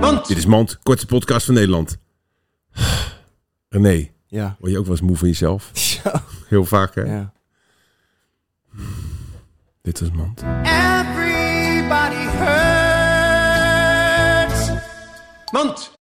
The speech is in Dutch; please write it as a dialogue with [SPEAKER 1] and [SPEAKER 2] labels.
[SPEAKER 1] Want...
[SPEAKER 2] Dit is Mand, kortste podcast van Nederland. René,
[SPEAKER 1] Ja.
[SPEAKER 2] word je ook wel eens moe van jezelf?
[SPEAKER 1] Ja.
[SPEAKER 2] Heel vaak, hè?
[SPEAKER 1] ja.
[SPEAKER 2] Dit was Mand.
[SPEAKER 3] Everybody hurts. Mont.